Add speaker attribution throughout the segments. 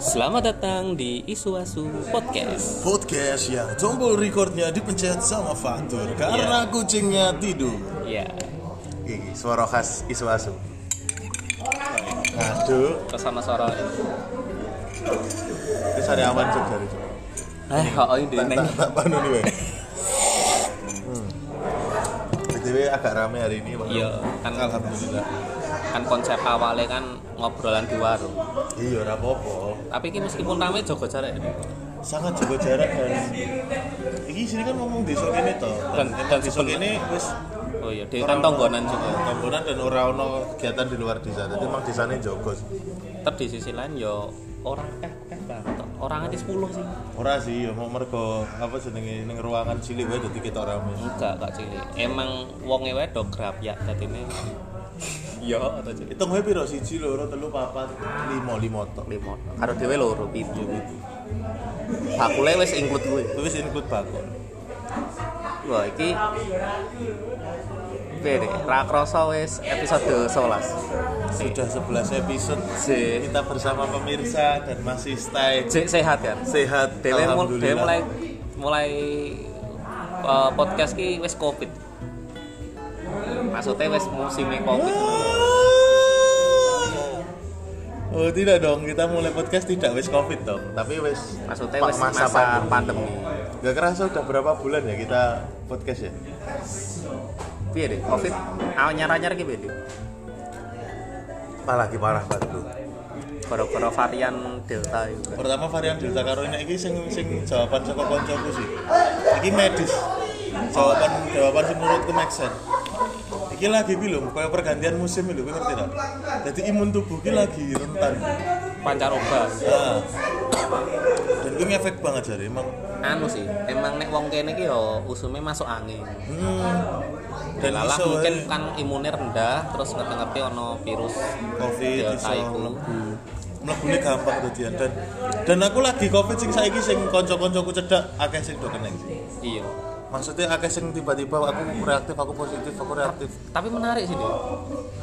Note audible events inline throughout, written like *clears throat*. Speaker 1: Selamat datang di Isuasu Podcast.
Speaker 2: Podcast yang tombol recordnya dipencet sama Fatur karena
Speaker 1: Iya.
Speaker 2: kucingnya tidur.
Speaker 1: Ya,
Speaker 3: Iki, suara khas Isuasu.
Speaker 2: Aduh,
Speaker 1: terus sama suara.
Speaker 2: terus ada awan juga itu.
Speaker 1: Eh, kok ini deh, neng.
Speaker 2: Tak tak panu nih
Speaker 1: *laughs*
Speaker 2: weh. Hmm. BTW agak rame hari ini Pak.
Speaker 1: Iya, kan
Speaker 2: Alhamdulillah.
Speaker 1: kan konsep awalnya kan ngobrolan di warung.
Speaker 2: Iya, ora apa-apa.
Speaker 1: Tapi ini meskipun ramai jaga jarak ya.
Speaker 2: Sangat jaga jarak dan Iki sini kan ngomong desa kene to.
Speaker 1: Dan- dan
Speaker 2: desa
Speaker 1: sebelum-
Speaker 2: kene wis
Speaker 1: Oh iya, di kan tonggonan juga.
Speaker 2: komponen dan ora ono kegiatan di luar desa. Jadi emang desane jogo.
Speaker 1: Tapi di sisi lain yo orang eh eh banget. Orang itu 10 sih.
Speaker 2: Ora sih, ya, mau mergo apa jenenge ning ruangan cilik wae dadi kita rame.
Speaker 1: Enggak, Kak Cili. Emang wonge wedok grab ya tadi ini. Yo, atau jadi
Speaker 2: Hitung wae piro siji loro telu papat lima lima tok.
Speaker 1: limo. Karo dhewe loro pitu. Bakule wis include gue.
Speaker 2: Kuwi wis include bakon.
Speaker 1: Wah, iki Piye deh, ra krasa wis episode 11.
Speaker 2: Sudah 11 episode
Speaker 1: Si
Speaker 2: kita bersama pemirsa dan masih stay
Speaker 1: Jek sehat ya.
Speaker 2: sehat.
Speaker 1: Dewe mul- dewe mulai
Speaker 2: Alhamdulillah.
Speaker 1: mulai eh, podcast ki wis Covid. Maksudnya wis musimnya Covid.
Speaker 2: Oh tidak dong, kita mulai podcast tidak wis covid dong, tapi wis
Speaker 1: Maksudnya
Speaker 3: Pa-
Speaker 1: wis masa,
Speaker 3: masa
Speaker 1: pandemi.
Speaker 2: Gak kerasa udah berapa bulan ya kita podcast ya?
Speaker 1: Piye deh, Covid aw nyar-nyar ki piye deh?
Speaker 3: Malah lagi parah banget lu.
Speaker 1: Gara-gara varian Delta itu.
Speaker 2: Pertama varian Delta karo ini iki sing sing jawaban saka koncoku sih. Iki medis. Jawaban jawaban sing menurutku make sense. Iki lagi iki lho, kaya pergantian musim lho, kowe ngerti ta? Jadi imun tubuh iki lagi rentan.
Speaker 1: Pancaroba.
Speaker 2: Nah. Dan itu ngefek banget jare emang.
Speaker 1: Anu sih, emang nek wong kene ki yo usume masuk angin.
Speaker 2: Hmm. Dan
Speaker 1: Lalah
Speaker 2: iso
Speaker 1: mungkin
Speaker 2: wae
Speaker 1: kan imunnya rendah, terus ngerti-ngerti ono virus
Speaker 2: covid
Speaker 1: Delta
Speaker 2: iso
Speaker 1: itu.
Speaker 2: mlebu. Mlebune gampang dadian dan dan aku lagi covid sing saiki sing kanca-kancaku cedak akeh sing do kena sih.
Speaker 1: Iya.
Speaker 2: Maksudnya akeh sing tiba-tiba aku reaktif, aku positif, aku reaktif.
Speaker 1: Tapi menarik sih deh.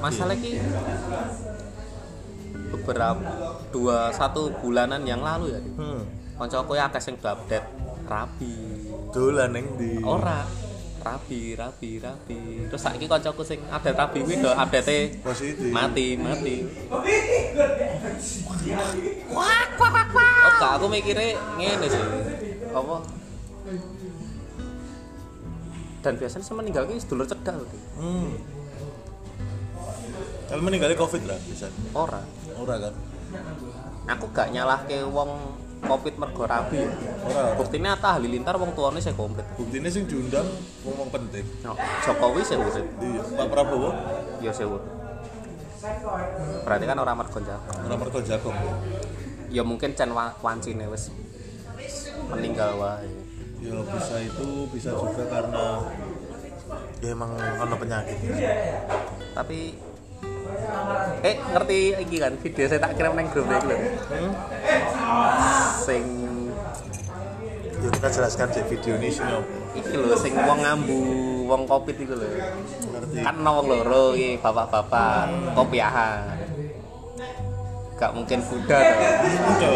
Speaker 1: Masalah ki beberapa dua satu bulanan yang lalu ya.
Speaker 2: Hmm.
Speaker 1: Koncoku ya akeh sing do update rabi.
Speaker 2: Dolan neng di.
Speaker 1: Ora rabi rabi rabi terus saiki koncoku sing update rabi kuwi do update
Speaker 2: Positif.
Speaker 1: mati mati Oke, Oh, aku mikirnya ngene sih. Apa? Dan biasanya sama meninggal ki sedulur cedak lho. Di.
Speaker 2: Hmm. Tapi meninggalnya covid lah bisa.
Speaker 1: Ora.
Speaker 2: Ora kan?
Speaker 1: Aku gak nyalahke wong Covid mergo rabi. ya.
Speaker 2: Ora.
Speaker 1: Buktinya Atta Halilintar wong tuane sing komplit.
Speaker 2: Buktinya sing diundang ngomong penting.
Speaker 1: No, Jokowi sing urip,
Speaker 2: Iya. Pak Prabowo
Speaker 1: ya sing urip. Berarti kan orang mergo jago.
Speaker 2: ora mergo jago.
Speaker 1: Ya mungkin cen wa- wancine wis meninggal wae.
Speaker 2: Ya bisa itu bisa juga karena
Speaker 3: Ya emang ono penyakit.
Speaker 1: Tapi eh ngerti iki kan video saya tak kirim neng grup iki lho. Hmm? Sing
Speaker 2: ya kita jelaskan di video ini sih apa.
Speaker 1: iki lho sing wong ngambu wong Covid iku lho.
Speaker 2: Ngerti.
Speaker 1: Kan ana wong loro iki bapak-bapak kopiahan. Gak mungkin Buddha to.
Speaker 2: Itu.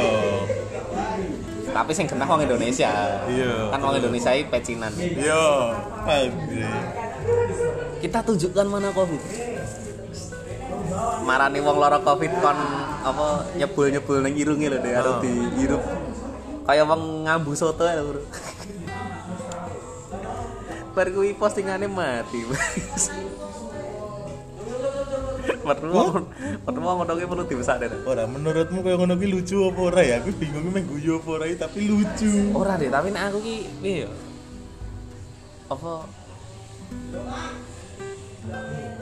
Speaker 1: Tapi sing genah wong Indonesia.
Speaker 2: Iya.
Speaker 1: Kan wong Indonesia iki pecinan.
Speaker 2: Yo, pabrik.
Speaker 1: Kita tunjukkan mana Covid. Marani wong lara Covid kon apa nyebul-nyebul ning irunge lho deh harus
Speaker 2: Oh.
Speaker 1: dihirup. Kayak wong ngambu soto ya, Bro. Bar kuwi postingane mati. Metu wong, metu wong ngono ki perlu dibesakne. Dek.
Speaker 2: Ora menurutmu kayak ngono ki lucu apa ora ya? Aku bingung ki meh guyu apa ora iki, tapi lucu.
Speaker 1: Ora deh, tapi nek aku ki piye ya? Apa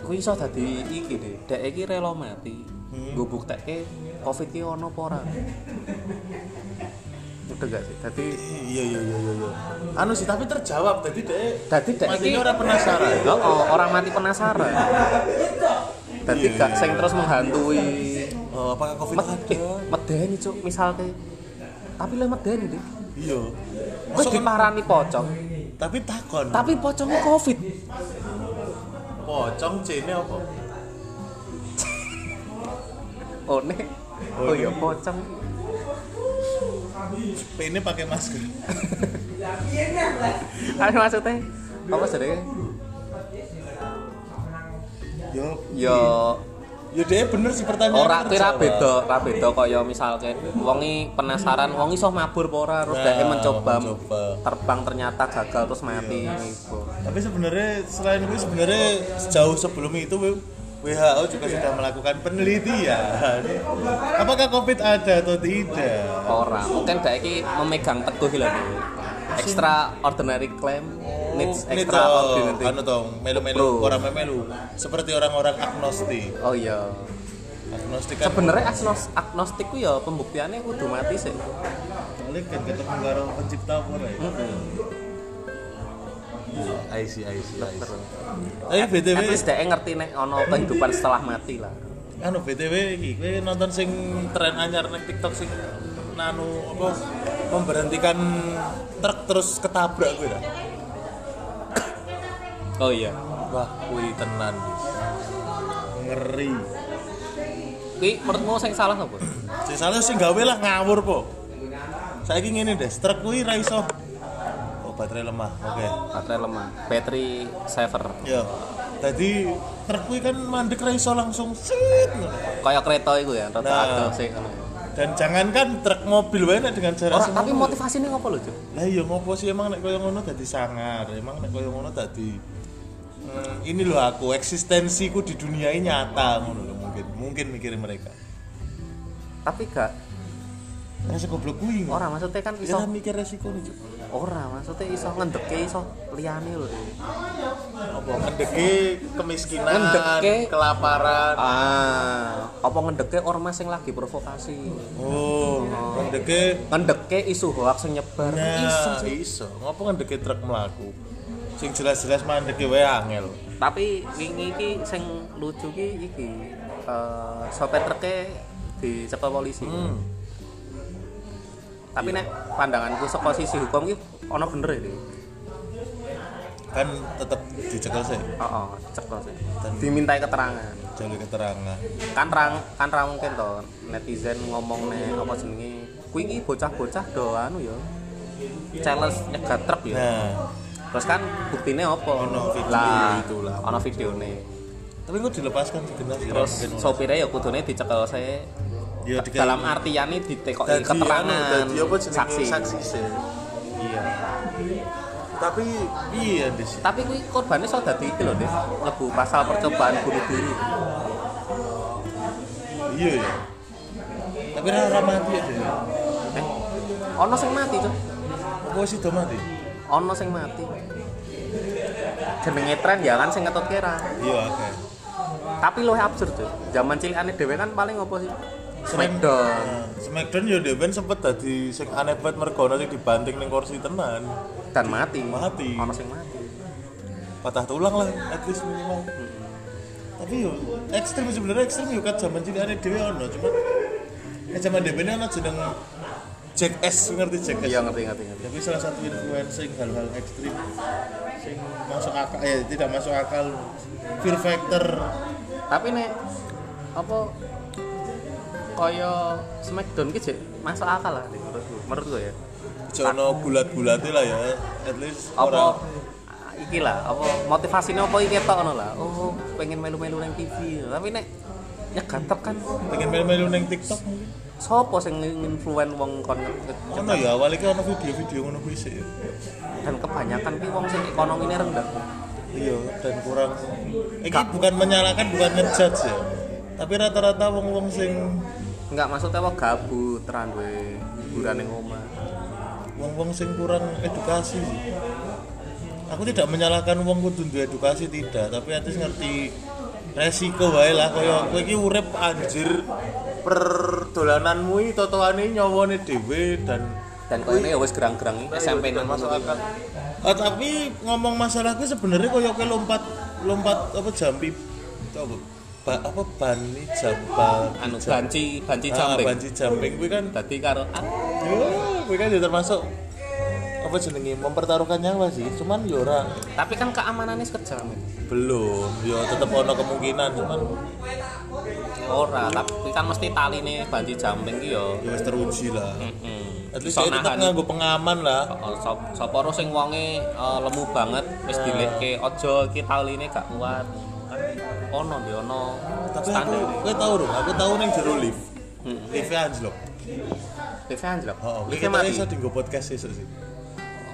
Speaker 1: kuwi iso dadi iki deh. Dek iki rela mati. Nggo buktekke Covid ki ono apa ora. Udah gak sih? Dadi
Speaker 2: Iya iya iya iya. iya. Anu sih tapi terjawab tadi deh.
Speaker 1: dadi dek
Speaker 2: Matinya
Speaker 1: iki
Speaker 2: orang penasaran.
Speaker 1: Oh, oh, orang mati penasaran. Dadi
Speaker 2: Iya,
Speaker 1: gak
Speaker 2: iya.
Speaker 1: sing terus menghantui.
Speaker 2: Oh, apakah covid
Speaker 1: Med
Speaker 2: ada?
Speaker 1: eh, medeni cuk misalnya. Tapi lah medeni deh.
Speaker 2: Iya.
Speaker 1: Wis
Speaker 2: Masuk
Speaker 1: diparani pocong,
Speaker 2: tapi takon.
Speaker 1: tapi pocongnya Covid.
Speaker 2: pocong cene apa?
Speaker 1: One. Oh iya pocong.
Speaker 2: Ini pakai masker.
Speaker 1: Anu maksudnya apa sebenarnya?
Speaker 2: Yo,
Speaker 1: Yo oh,
Speaker 2: yo deh bener sih pertanyaan.
Speaker 1: ora kuwi ra
Speaker 2: terjawab.
Speaker 1: beda, ra beda kaya misalke wongi penasaran wong iso mabur apa ora terus
Speaker 2: Nah,
Speaker 1: dhek e mencoba,
Speaker 2: mencoba.
Speaker 1: terbang ternyata gagal terus mati gitu.
Speaker 2: Tapi sebenarnya selain itu sebenarnya sejauh sebelum itu W- WHO juga
Speaker 1: Iya.
Speaker 2: sudah melakukan penelitian. Apakah COVID ada atau tidak?
Speaker 1: Ora, mungkin dhek iki memegang teguh lho. Bu. Extraordinary claim Oh, needs
Speaker 2: Ini
Speaker 1: extra
Speaker 2: toh,
Speaker 1: ordinary.
Speaker 2: anu toh, melu-melu,
Speaker 1: Pro.
Speaker 2: orang melu Seperti orang-orang agnostik
Speaker 1: Oh iya.
Speaker 2: Agnostik kan
Speaker 1: Sebenarnya agnos agnostik ku ya pembuktiannya kudu mati sih.
Speaker 2: Soalnya kan ketemu karo pencipta pura ya
Speaker 3: I see, I see, I see.
Speaker 2: Tapi BTW,
Speaker 1: At least dhek e ngerti nek ono kehidupan setelah mati lah.
Speaker 2: anu BTW iki Kowe nonton sing tren anyar nang TikTok sing nanu apa memberhentikan truk terus ketabrak kowe dah.
Speaker 1: Oh iya.
Speaker 2: Wah, kuwi tenan. Ngeri.
Speaker 1: Kuwi menurutmu sing salah apa?
Speaker 2: Sing salah sing gawe lah ngawur po. Saiki ngene deh, truk kuwi ra iso. Oh, baterai lemah. Oke.
Speaker 1: baterai lemah battery saver
Speaker 2: Ya. Tadi truk kuwi kan mandek ra iso langsung sit. ngono.
Speaker 1: kayak kereta itu ya rata
Speaker 2: Nah.
Speaker 1: ada sih ngono.
Speaker 2: Dan jangankan truk mobil wae nek dengan jarak
Speaker 1: Ora,
Speaker 2: semono.
Speaker 1: tapi motivasinya ngopo lho Cuk?
Speaker 2: lah iya ngopo sih emang nek kaya ngono dadi sangar emang nek kaya ngono dadi hmm, ini loh aku eksistensiku di dunia ini nyata ngono loh mungkin mungkin mikirin mereka
Speaker 1: tapi gak
Speaker 2: rasa goblok kuwi ngono
Speaker 1: ora maksudnya kan
Speaker 2: ya
Speaker 1: iso
Speaker 2: lah, mikir resiko nih Cuk.
Speaker 1: ora maksudnya iso ngendeke iso liyane lho
Speaker 2: apa ngendeke kemiskinan
Speaker 1: Ngendeke.
Speaker 2: kelaparan
Speaker 1: ah apa ngendeke ormas sing lagi provokasi
Speaker 2: oh ngendeke
Speaker 1: ngendeke isu hoax sing nyebar iso
Speaker 2: nah
Speaker 1: Cuk.
Speaker 2: iso ngopo ngendeke truk mlaku sing jelas-jelas mandeke wae angel
Speaker 1: tapi wingi iki sing lucu ki iki eh sopir treke dicekel polisi
Speaker 2: Hmm.
Speaker 1: tapi nek pandanganku saka sisi hukum ki ono bener iki
Speaker 2: kan tetep dicekel sih
Speaker 1: Oh, oh cekel sih. Dimintai keterangan.
Speaker 2: jalur keterangan
Speaker 1: Kan rang kan ra mungkin to netizen ngomong nih apa jenenge. Kuwi iki bocah-bocah do anu ya. Challenge nyegat truk ya.
Speaker 2: nah
Speaker 1: Terus kan buktine apa?
Speaker 2: Ono video itu lah.
Speaker 1: Ono videone.
Speaker 2: tapi kok dilepaskan segenap
Speaker 1: Terus sopirnya ya kudune dicekel saya
Speaker 2: Ya, dikai-
Speaker 1: dalam artian ini ditekoki
Speaker 2: Dadi anu,
Speaker 1: keterangan
Speaker 2: dadi apa jenenge?
Speaker 1: saksi.
Speaker 2: saksi sih
Speaker 1: Iya.
Speaker 2: tapi iya dis
Speaker 1: Tapi kuwi korbannya iso dadi iki lho, Des. Lebu pasal percobaan bunuh diri.
Speaker 2: iya ya tapi rara mati ya deh
Speaker 1: Eh, ono sing mati, Cuk.
Speaker 2: apa sih do mati
Speaker 1: ono sing mati jenenge tren ya kan sing ngetut kira
Speaker 2: iya oke
Speaker 1: tapi luwih absurd tuh zaman cilikane dhewe kan paling apa sih Smackdown
Speaker 2: Nah, Smackdown ya Deven sempet dadi sing aneh banget mergono sing dibanting ning kursi tenan
Speaker 1: dan mati
Speaker 2: Mati.
Speaker 1: ono sing mati
Speaker 2: patah tulang lah at least minimal tapi yo ekstrim sebenarnya ekstrim yo kan zaman cilik aneh dhewe ono cuma eh zaman Deven ono jeneng Jack S ngerti Jack S
Speaker 1: iya ngerti ngerti ngerti
Speaker 2: tapi salah satu influencing hal-hal ekstrim sing masuk akal eh tidak masuk akal fear factor
Speaker 1: tapi nek apa kaya Smackdown ki jek masuk akal lah nek menurutku menurut gua ya
Speaker 2: jono bulat-bulatnya lah ya at least
Speaker 1: apa
Speaker 2: orang
Speaker 1: iki lah apa motivasinya apa iki ketok ngono lah oh pengen melu-melu nang TV tapi nek nyegat truk kan
Speaker 2: pengen melu-melu neng tiktok mungkin
Speaker 1: sapa sing influen wong kon nge-
Speaker 2: ono ya awalnya kan ono video-video ngono kuwi sih ya.
Speaker 1: dan kebanyakan ki wong sing ekonomine rendah
Speaker 2: iya dan kurang ini bukan menyalahkan bukan ngejudge ya tapi rata-rata wong-wong sing
Speaker 1: enggak maksudnya apa gabut ra duwe hiburan ning omah
Speaker 2: wong-wong sing kurang edukasi sih. aku tidak menyalahkan wong kudu duwe edukasi tidak tapi atis ngerti resiko wae lah kaya kowe iki urip anjir perdolananmu iki totoane nyawane dhewe dan
Speaker 1: dan kau ini ya wis gerang-gerang iki, SMP nang
Speaker 2: dan Iya, masuk akal Ah, tapi ngomong masalah kuwi sebenarnya kaya kowe lompat lompat apa jampi apa ba- apa bani jamba
Speaker 1: anu banci banci
Speaker 2: Ah,
Speaker 1: jumping
Speaker 2: banci jumping kuwi kan
Speaker 1: dadi karo ah,
Speaker 2: Yo, gue kan ya termasuk apa jenenge mempertaruhkan nyawa sih. Cuman yo ora
Speaker 1: tapi kan keamanannya sekejamin
Speaker 2: belum. Yo tetep ono kemungkinan cuman
Speaker 1: ora tapi kan mesti taline banci jumping ki yo
Speaker 2: yo wis teruji lah.
Speaker 1: hmm.
Speaker 2: at least
Speaker 1: Sok
Speaker 2: dia tetap
Speaker 1: nahan.
Speaker 2: nganggo pengaman lah
Speaker 1: Oh, sop soporo sing wonge eh, lemu banget wis
Speaker 2: Ah.
Speaker 1: dilihke aja iki tauline gak kuat. Ono ndi ono
Speaker 2: tapi aku
Speaker 1: standar. Hmm.
Speaker 2: gue tau dong aku tau neng jero lift liftnya anjlok
Speaker 1: TV anjlok.
Speaker 2: oh
Speaker 1: Iki
Speaker 2: kita
Speaker 1: mati.
Speaker 2: iso dinggo podcast esok sih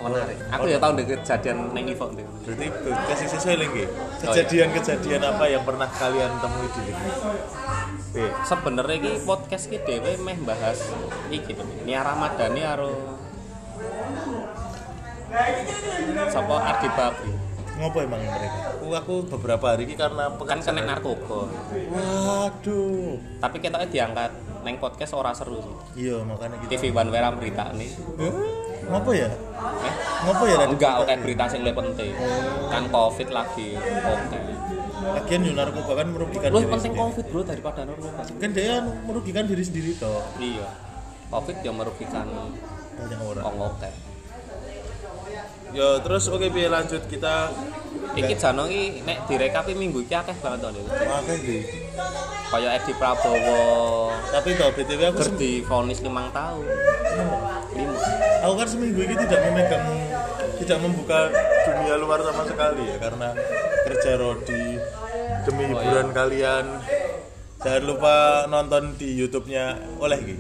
Speaker 1: Menarik. Aku ya tau ndek kejadian ning Ivo ndek.
Speaker 2: berarti podcast esok saya lagi kejadian-kejadian apa yang pernah kalian temui di lift
Speaker 1: Sebenarnya iki podcast iki dhewe meh bahas iki to. Nia Ramadhani karo Sapa Ardi Babri.
Speaker 2: ngopo emang mereka aku, aku beberapa hari ini
Speaker 1: Kan
Speaker 2: karena
Speaker 1: kena
Speaker 2: pekerjaan
Speaker 1: narkoba.
Speaker 2: waduh
Speaker 1: Tapi ketoknya diangkat neng podcast ora seru sih.
Speaker 2: iya makanya gitu
Speaker 1: TV One Weram berita nih.
Speaker 2: Eh, ngopo ya
Speaker 1: Eh,
Speaker 2: ngopo ya Radit?
Speaker 1: enggak oke berita sing lebih penting kan covid lagi oke
Speaker 2: lagian yo narkoba kan merugikan
Speaker 1: lu
Speaker 2: diri
Speaker 1: penting
Speaker 2: sendiri.
Speaker 1: covid bro daripada narkoba
Speaker 2: kan dia merugikan diri sendiri toh
Speaker 1: iya covid yang merugikan
Speaker 2: banyak orang
Speaker 1: wong oke
Speaker 2: ya terus oke biar lanjut kita
Speaker 1: iki jano iki nek direkapi minggu iki akeh banget to lho
Speaker 2: Makanya sih
Speaker 1: kaya Edi Prabowo
Speaker 2: tapi toh btw aku sem-
Speaker 1: gerdi vonis limang tahun lima
Speaker 2: aku kan seminggu ini tidak memegang tidak membuka dunia luar sama sekali ya karena kerja Rodi demi
Speaker 1: Oh, iya.
Speaker 2: hiburan kalian jangan lupa nonton di YouTube-nya oleh Ki.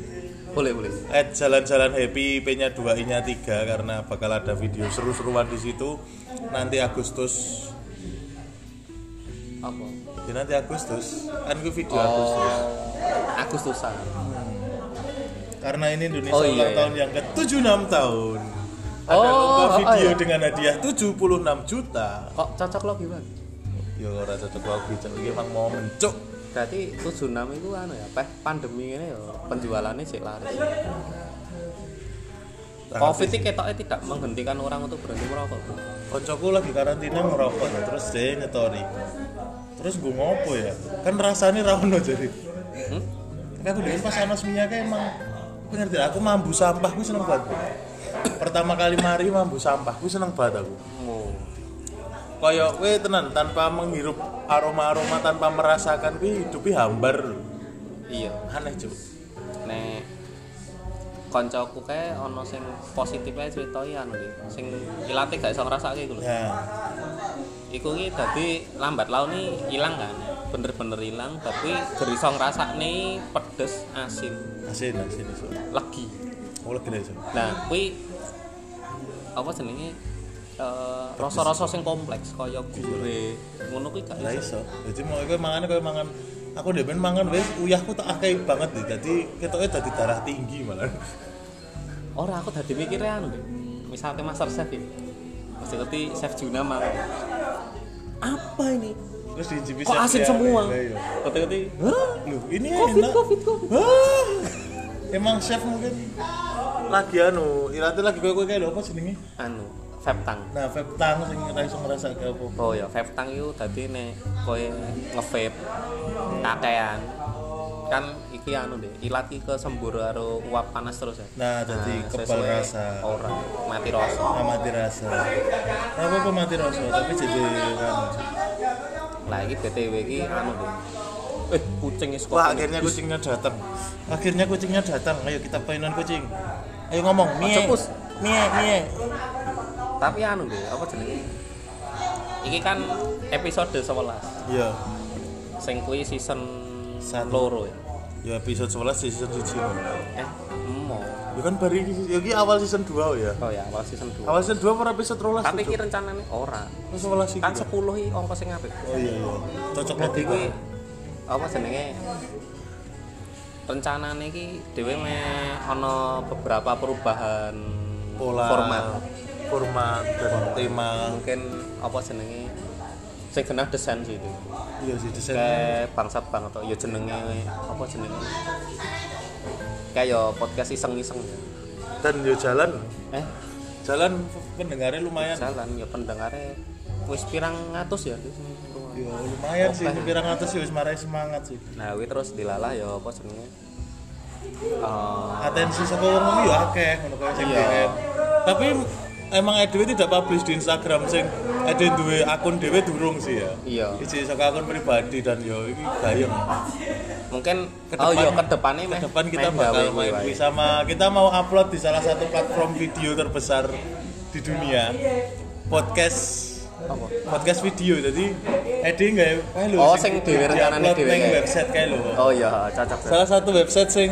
Speaker 1: boleh boleh
Speaker 2: at jalan-jalan happy p-nya 2 i-nya 3 karena bakal ada video seru-seruan di situ nanti Agustus
Speaker 1: apa
Speaker 2: ya nanti Agustus kan gue video Agustus
Speaker 1: oh Agustusan
Speaker 2: karena ini Indonesia
Speaker 1: Oh, iya,
Speaker 2: ulang
Speaker 1: iya.
Speaker 2: tahun yang ke-76 tahun ada
Speaker 1: Oh,
Speaker 2: lomba
Speaker 1: oh,
Speaker 2: video
Speaker 1: iya.
Speaker 2: dengan hadiah 76 juta
Speaker 1: kok cocok lagi bang
Speaker 2: ya ora cocok lagi cok iki emang mau mencuk
Speaker 1: berarti 76 itu anu ya peh pandemi ini ya penjualannya sih laris Covid ini ketoknya tidak menghentikan orang untuk berhenti merokok. Bro.
Speaker 2: koncoku lagi karantina ngerokok ya, terus dia nyetori terus gue ngopo ya kan rasanya rano jadi
Speaker 1: Hmm?
Speaker 2: Tapi aku dulu pas anos minyaknya emang aku ngerti aku mambu sampah gue seneng banget pertama kali mari mambu sampah gue seneng banget aku
Speaker 1: Oh.
Speaker 2: koyo gue tenan tanpa menghirup aroma-aroma tanpa merasakan gue hidupnya hambar lho.
Speaker 1: Iya.
Speaker 2: aneh cuy
Speaker 1: Nek koncoku kae ono sing positifnya ceritoi anu iki. Sing ilate gak iso ngrasake iku lho.
Speaker 2: nah
Speaker 1: Iku iki dadi lambat laun nih ilang kan. Bener-bener ilang tapi gak iso ngrasakne pedes asin
Speaker 2: asin asin iso
Speaker 1: legi.
Speaker 2: oleh gede iso
Speaker 1: Nah, kuwi apa jenenge eh rasa-rasa sing kompleks kaya gure ngono kuwi gak
Speaker 2: lah
Speaker 1: iso.
Speaker 2: iso jadi mau gue mangan gue mangan aku demen mangan wes uyahku tak akeh banget nih jadi ketoknya jadi darah tinggi *laughs* malah
Speaker 1: Ora aku tadi mikirnya anu deh. Misalnya Master Chef ya. Mesti ngerti Chef Juna mah. Apa ini?
Speaker 2: terus dicipi
Speaker 1: Kok asin
Speaker 2: setiap hari.
Speaker 1: semua?
Speaker 2: Lah iya.
Speaker 1: Ngerti ngerti.
Speaker 2: Hah? Loh, ini
Speaker 1: Covid,
Speaker 2: enak.
Speaker 1: covid, covid.
Speaker 2: Hah? Emang chef mungkin lagi anu, ilate lagi kowe kowe kayak lho, apa jenenge?
Speaker 1: Anu, Vaptang.
Speaker 2: Nah, vape tang sing ora iso ngrasake apa.
Speaker 1: Oh ya, Vaptang itu tadi nek koe nge-vape kakean. Kan iki anu deh, ilat iki kesembur karo uap panas terus ya.
Speaker 2: Nah, jadi kebal
Speaker 1: sesuai
Speaker 2: rasa.
Speaker 1: Ora, mati rasa.
Speaker 2: Nah, mati rasa. Nah, apa apa mati rasa, tapi jadi kan.
Speaker 1: Lah iki BTW iki anu deh. Eh, kucing is
Speaker 2: Wah, akhirnya kucingnya datang. Akhirnya kucingnya datang. Ayo kita painan kucing. Ayo ngomong, mie.
Speaker 1: Ojo, Pus.
Speaker 2: Mie, mie.
Speaker 1: tapi anu deh apa jenenge iki kan episode 11
Speaker 2: Iya.
Speaker 1: sing kuwi season
Speaker 2: Satu.
Speaker 1: loro ya
Speaker 2: Ya episode 11 season 7.
Speaker 1: eh emo
Speaker 2: Ya kan bari ya iki awal season 2 ya.
Speaker 1: oh ya awal season 2
Speaker 2: Awal season 2 per episode 13.
Speaker 1: tapi
Speaker 2: itu.
Speaker 1: iki rencanane ora
Speaker 2: Terus sebelah sih.
Speaker 1: kan 10 iki angka sing apik
Speaker 2: Oh iya iya. Cocok
Speaker 1: dadi
Speaker 2: lagi
Speaker 1: kuwi Oh, apa jenenge rencanane iki dhewe meh ana beberapa perubahan
Speaker 2: pola
Speaker 1: format
Speaker 2: format dan tema.
Speaker 1: mungkin apa jenenge sing kena desain sih itu
Speaker 2: Iya sih desain.
Speaker 1: kayak bangsat banget tuh ya jenenge apa jenenge kayak yo podcast iseng iseng
Speaker 2: Dan yo jalan.
Speaker 1: eh
Speaker 2: Jalan pendengarnya lumayan.
Speaker 1: jalan ya pendengarnya wis pirang ngatus ya di sini semua.
Speaker 2: Yo Iya, lumayan sih,
Speaker 1: Oke.
Speaker 2: pirang atas sih wis marai semangat sih.
Speaker 1: nah wi terus dilalah ya apa jenenge Eh,
Speaker 2: Atensi saka wong yo ya akeh ngono kaya sing
Speaker 1: Iya.
Speaker 2: dhewe. Tapi emang Edwe tidak publish di Instagram sing Edwe duwe akun dhewe durung sih ya.
Speaker 1: Iya.
Speaker 2: Iki saka akun pribadi dan yo iki gayeng.
Speaker 1: mungkin
Speaker 2: Ke
Speaker 1: oh
Speaker 2: depan-
Speaker 1: iya ke depannya
Speaker 2: Ke
Speaker 1: meh-
Speaker 2: depan kita
Speaker 1: meh
Speaker 2: bakal
Speaker 1: gawe
Speaker 2: main
Speaker 1: wae.
Speaker 2: kuis sama kita mau upload di salah satu platform video terbesar di dunia. Podcast
Speaker 1: Apa?
Speaker 2: podcast video jadi Edi nggak ya eh, lho,
Speaker 1: Oh, sing dhewe
Speaker 2: di-upload
Speaker 1: rencanane dhewe
Speaker 2: neng
Speaker 1: kayak.
Speaker 2: website kayak lho
Speaker 1: oh iya cocok cocok.
Speaker 2: salah satu website sing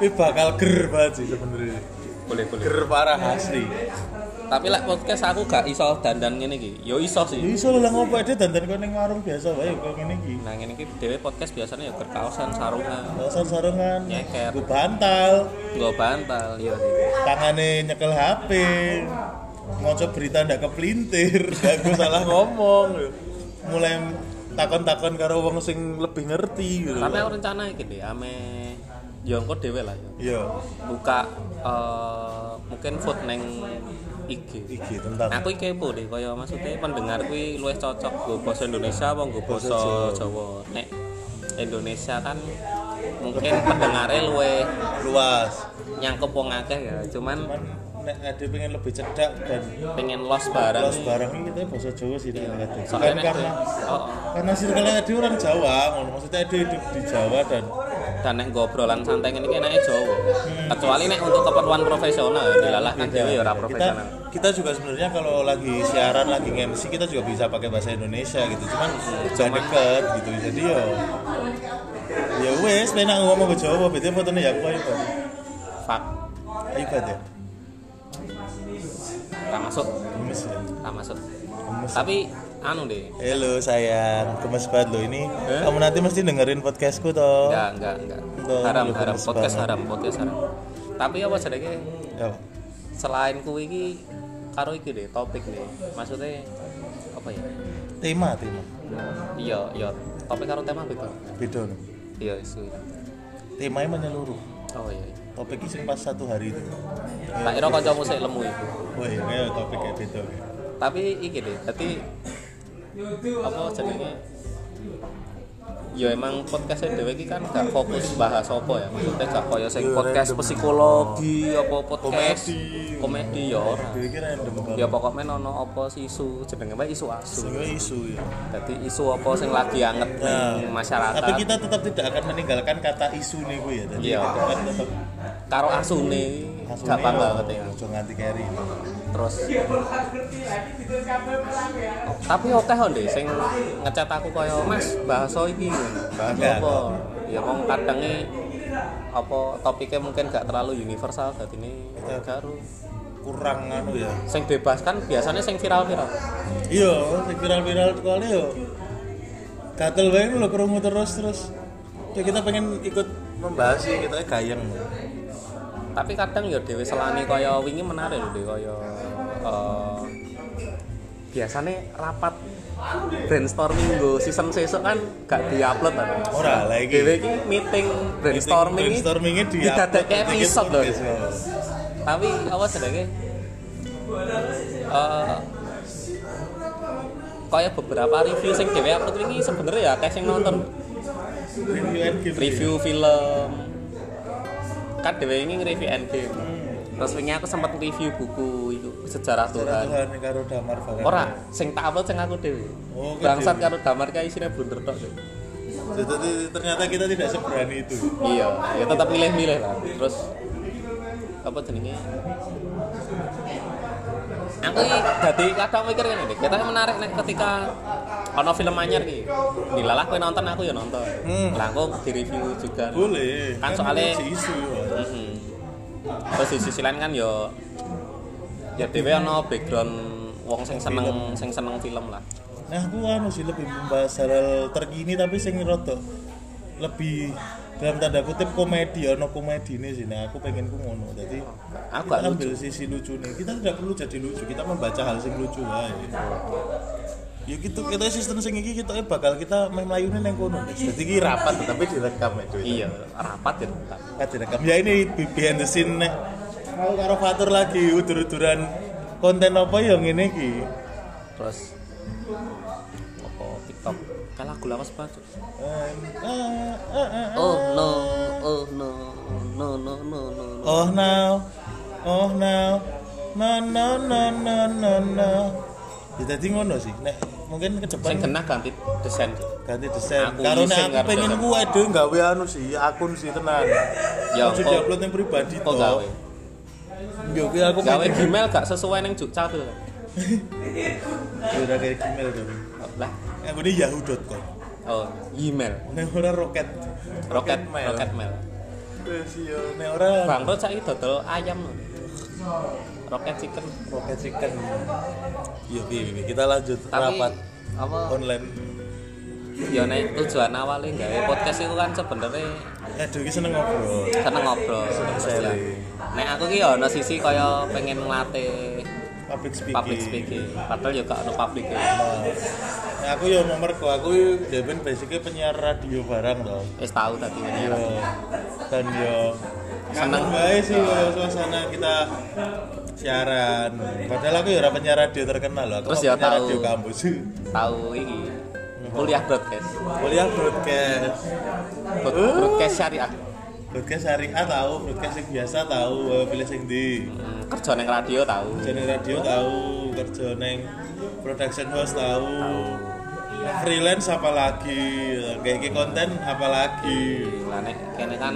Speaker 2: ini bakal ger banget sih sebenarnya
Speaker 1: boleh boleh
Speaker 2: ger parah asli
Speaker 1: tapi lah podcast aku gak iso dandan ngene iki yo iso
Speaker 2: ya
Speaker 1: sih
Speaker 2: iso lho lah ngopo Edi dandan kau neng warung biasa wae kau ngene iki
Speaker 1: nah ngene iki dhewe podcast biasanya ya berkaosan sarungan
Speaker 2: Alasan sarangan
Speaker 1: Nyeker.
Speaker 2: gue bantal
Speaker 1: nggo bantal iya sih
Speaker 2: tangannya nyekel HP ngocok berita ndak kepelintir *laughs* aku salah ngomong lho. mulai takon-takon karo wong sing lebih ngerti gitu
Speaker 1: tapi aku rencana iki deh ame yo engko dhewe lah yo
Speaker 2: iya
Speaker 1: buka eh, mungkin food neng IG
Speaker 2: iki tentang
Speaker 1: aku iki kepo deh kaya maksudnya pendengar kuwi luwih cocok nggo basa Indonesia apa nggo
Speaker 2: Basa
Speaker 1: basa Jawa nek Indonesia kan mungkin pendengarnya luwih
Speaker 2: luas
Speaker 1: nyangkep wong akeh ya cuman
Speaker 2: cuman nek ada pengen lebih cedak dan
Speaker 1: pengen lost barang
Speaker 2: los barang ini kita bahasa Jawa sih nek ada
Speaker 1: soalnya
Speaker 2: Bukan
Speaker 1: nek
Speaker 2: karena
Speaker 1: oh, oh.
Speaker 2: karena circle ada orang Jawa ngono. maksudnya ada hidup di Jawa dan
Speaker 1: dan nek ngobrolan santai ngene iki enake Jawa kecuali nek untuk keperluan profesional ya dilalah kan dhewe ya ora
Speaker 2: Iya, kita
Speaker 1: profesional
Speaker 2: kita juga sebenarnya kalau lagi siaran lagi MC kita juga bisa pakai bahasa Indonesia gitu cuman jangan deket gitu jadi yo ya wes penak ngomong ke Jawa bete fotonya ya aku ayo Pak.
Speaker 1: fuck
Speaker 2: ayo Pak, ya
Speaker 1: tak masuk
Speaker 2: gemes ya
Speaker 1: tak masuk
Speaker 2: gemes
Speaker 1: tapi anu deh
Speaker 2: Halo sayang, gemes banget lo ini.
Speaker 1: Eh?
Speaker 2: Kamu nanti mesti dengerin podcastku toh.
Speaker 1: enggak enggak enggak
Speaker 2: Enggak,
Speaker 1: haram
Speaker 2: enggak
Speaker 1: haram
Speaker 2: bagus
Speaker 1: podcast
Speaker 2: banget.
Speaker 1: haram podcast haram tapi apa sedeknya
Speaker 2: Ya.
Speaker 1: selain kuwi iki karo iki deh topik deh maksudnya apa ya
Speaker 2: Tema, tema.
Speaker 1: iya iya topik karo tema betul
Speaker 2: Beda no.
Speaker 1: iya isu
Speaker 2: Temanya menyeluruh.
Speaker 1: oh iya iya.
Speaker 2: Topik sing pas satu hari itu.
Speaker 1: tak kira kancamu sik lemu iku
Speaker 2: Wah, ya kayak topik kayak beda. kayak.
Speaker 1: tapi iki deh berarti apa jenenge ya emang podcastnya dewe iki kan gak fokus bahas apa ya maksudnya gak kaya sing
Speaker 2: Ya,
Speaker 1: podcast
Speaker 2: random.
Speaker 1: psikologi apa podcast
Speaker 2: Komedi.
Speaker 1: komedi ya ora
Speaker 2: Dewi kira yang demen
Speaker 1: ya pokoknya ono apa sih isu jenenge wae isu asu
Speaker 2: Sehingga isu ya. Nah,
Speaker 1: jadi isu apa sing lagi anget ning Nah, masyarakat
Speaker 2: Tapi kita tetap tidak akan meninggalkan kata isu nih gue ya. Jadi
Speaker 1: Iya.
Speaker 2: kita akan tetap
Speaker 1: karo asune
Speaker 2: asune
Speaker 1: gampang
Speaker 2: yo,
Speaker 1: banget ya
Speaker 2: ojo nganti carry.
Speaker 1: terus tapi akeh onde sing ngecat aku koyo Mas bahasa iki bahasa
Speaker 2: Enggak.
Speaker 1: apa ya wong kadenge apa topiknya mungkin gak terlalu universal dadi ini
Speaker 2: Iya.
Speaker 1: karo
Speaker 2: Kurang anu ya.
Speaker 1: sing bebas kan biasanya sing viral-viral
Speaker 2: Iya, sing viral-viral kali yo. Gatel wae lho krungu terus terus. Ya kita pengen ikut membahas sih kita gayeng.
Speaker 1: tapi kadang ya dhewe selani kaya wingi menarik lho Dewi, kaya eh, biasanya rapat brainstorming go season sesuk kan gak diupload kan
Speaker 2: Ora lah
Speaker 1: dhewe
Speaker 2: iki.
Speaker 1: iki meeting brainstorming iki
Speaker 2: brainstorming di
Speaker 1: didadake episode lho tapi apa sedangnya eh kaya beberapa review sing dhewe upload iki sebenarnya ya kayak sing nonton
Speaker 2: Review and give.
Speaker 1: review film kan dhewe ini nge-review Endgame terus wingi aku sempat review buku itu sejarah Tuhan
Speaker 2: Cara Tuhan karo damar bakal.
Speaker 1: ora sing tak upload sing aku dhewe
Speaker 2: Oh, kan
Speaker 1: bangsat
Speaker 2: dhewe.
Speaker 1: karo damar kae isine blunder tok dhewe.
Speaker 2: Jadi ternyata kita tidak seberani itu.
Speaker 1: iya ya tetap milih-milih lah terus apa jenenge aku ini dadi kadang mikir ngene deh kita menarik nek ketika ono film anyar iki dilalah kowe nonton aku ya nonton
Speaker 2: Hmm.
Speaker 1: lah aku di review juga
Speaker 2: Boleh.
Speaker 1: Kan soalnya-
Speaker 2: masih isu. ya.
Speaker 1: Mhm. terus di sisi lain kan yo ya dhewe ono background wong sing seneng sing seneng film lah
Speaker 2: Nah, aku anu sih lebih membahas hal terkini tapi sing rada lebih dalam tanda kutip komedi ono komedi ini sih nah aku pengen ku ngono jadi
Speaker 1: Aku
Speaker 2: kita
Speaker 1: gak
Speaker 2: ambil sisi lucu nih kita tidak perlu jadi lucu kita membaca hal sing lucu aja ya gitu kita sistem sing iki kita bakal kita main melayunin yang kono jadi ini rapat tapi direkam itu
Speaker 1: iya rapat ya rapat.
Speaker 2: Kan direkam. Ya ini behind the scene nek mau karo Fatur lagi udur-uduran konten apa ya ngene iki.
Speaker 1: terus apa TikTok kalah aku lawas banget Cuk.
Speaker 2: Eh, eh, eh, eh, eh.
Speaker 1: Oh no, oh no, no no no no no.
Speaker 2: Oh now. Oh now. na na na na na na ya tadi ngono sih nek mungkin ke
Speaker 1: Sing
Speaker 2: depan
Speaker 1: genah ganti desain.
Speaker 2: ganti desain
Speaker 1: Aku
Speaker 2: karena
Speaker 1: iseng
Speaker 2: aku
Speaker 1: karo
Speaker 2: pengen
Speaker 1: desain.
Speaker 2: gue deh gawe anu sih akun sih tenan
Speaker 1: Ya, kok-
Speaker 2: aku sudah upload yang pribadi
Speaker 1: Kok gawe?
Speaker 2: toh yo kuwi aku
Speaker 1: Gawe
Speaker 2: pengen
Speaker 1: Gmail gak sesuai nang Jogja tuh.
Speaker 2: Ya, udah kayak Gmail tuh
Speaker 1: Oh, Lah,
Speaker 2: aku ini yahoo.com
Speaker 1: oh, Gmail.
Speaker 2: nek ora roket
Speaker 1: Rocket,
Speaker 2: mail
Speaker 1: Rocket Mail.
Speaker 2: Wes, yo nek ora
Speaker 1: Bangkrut saiki dodol ayam lho. Rocket Chicken.
Speaker 2: roket chicken yo piye piye. kita lanjut
Speaker 1: Tapi
Speaker 2: rapat
Speaker 1: apa
Speaker 2: online
Speaker 1: ya nek tujuan awalnya gawe podcast itu kan sebenarnya
Speaker 2: aduh iki Eh, seneng ngobrol
Speaker 1: seneng ngobrol.
Speaker 2: sharing.
Speaker 1: Ya. Nek aku ki ya ono sisi kaya pengen ngelatih
Speaker 2: public speaking
Speaker 1: public speaking. Padahal ya gak ono public.
Speaker 2: Nah, aku yo nomor kok aku Deben basicnya penyiar radio barang loh.
Speaker 1: Wis tau tadi
Speaker 2: Yo
Speaker 1: ini.
Speaker 2: dan yo
Speaker 1: Seneng.
Speaker 2: seneng banget sih yo suasana kita siaran. Padahal aku yo ora penyiar radio terkenal loh. Aku
Speaker 1: Terus ya
Speaker 2: mau
Speaker 1: yo
Speaker 2: penyiar
Speaker 1: tahu.
Speaker 2: radio kampus.
Speaker 1: Tahu iki kuliah broadcast.
Speaker 2: Kuliah broadcast.
Speaker 1: Broad- Broadcast syariah.
Speaker 2: Broadcast syariah tahu, broadcast yang biasa tahu, eh, pilih sing di.
Speaker 1: Hmm, Kerja neng radio tahu.
Speaker 2: Kerja neng radio tahu, kerja neng production house tahu. Freelance apa lagi? Kayak konten apa lagi?
Speaker 1: Lah nek kene kan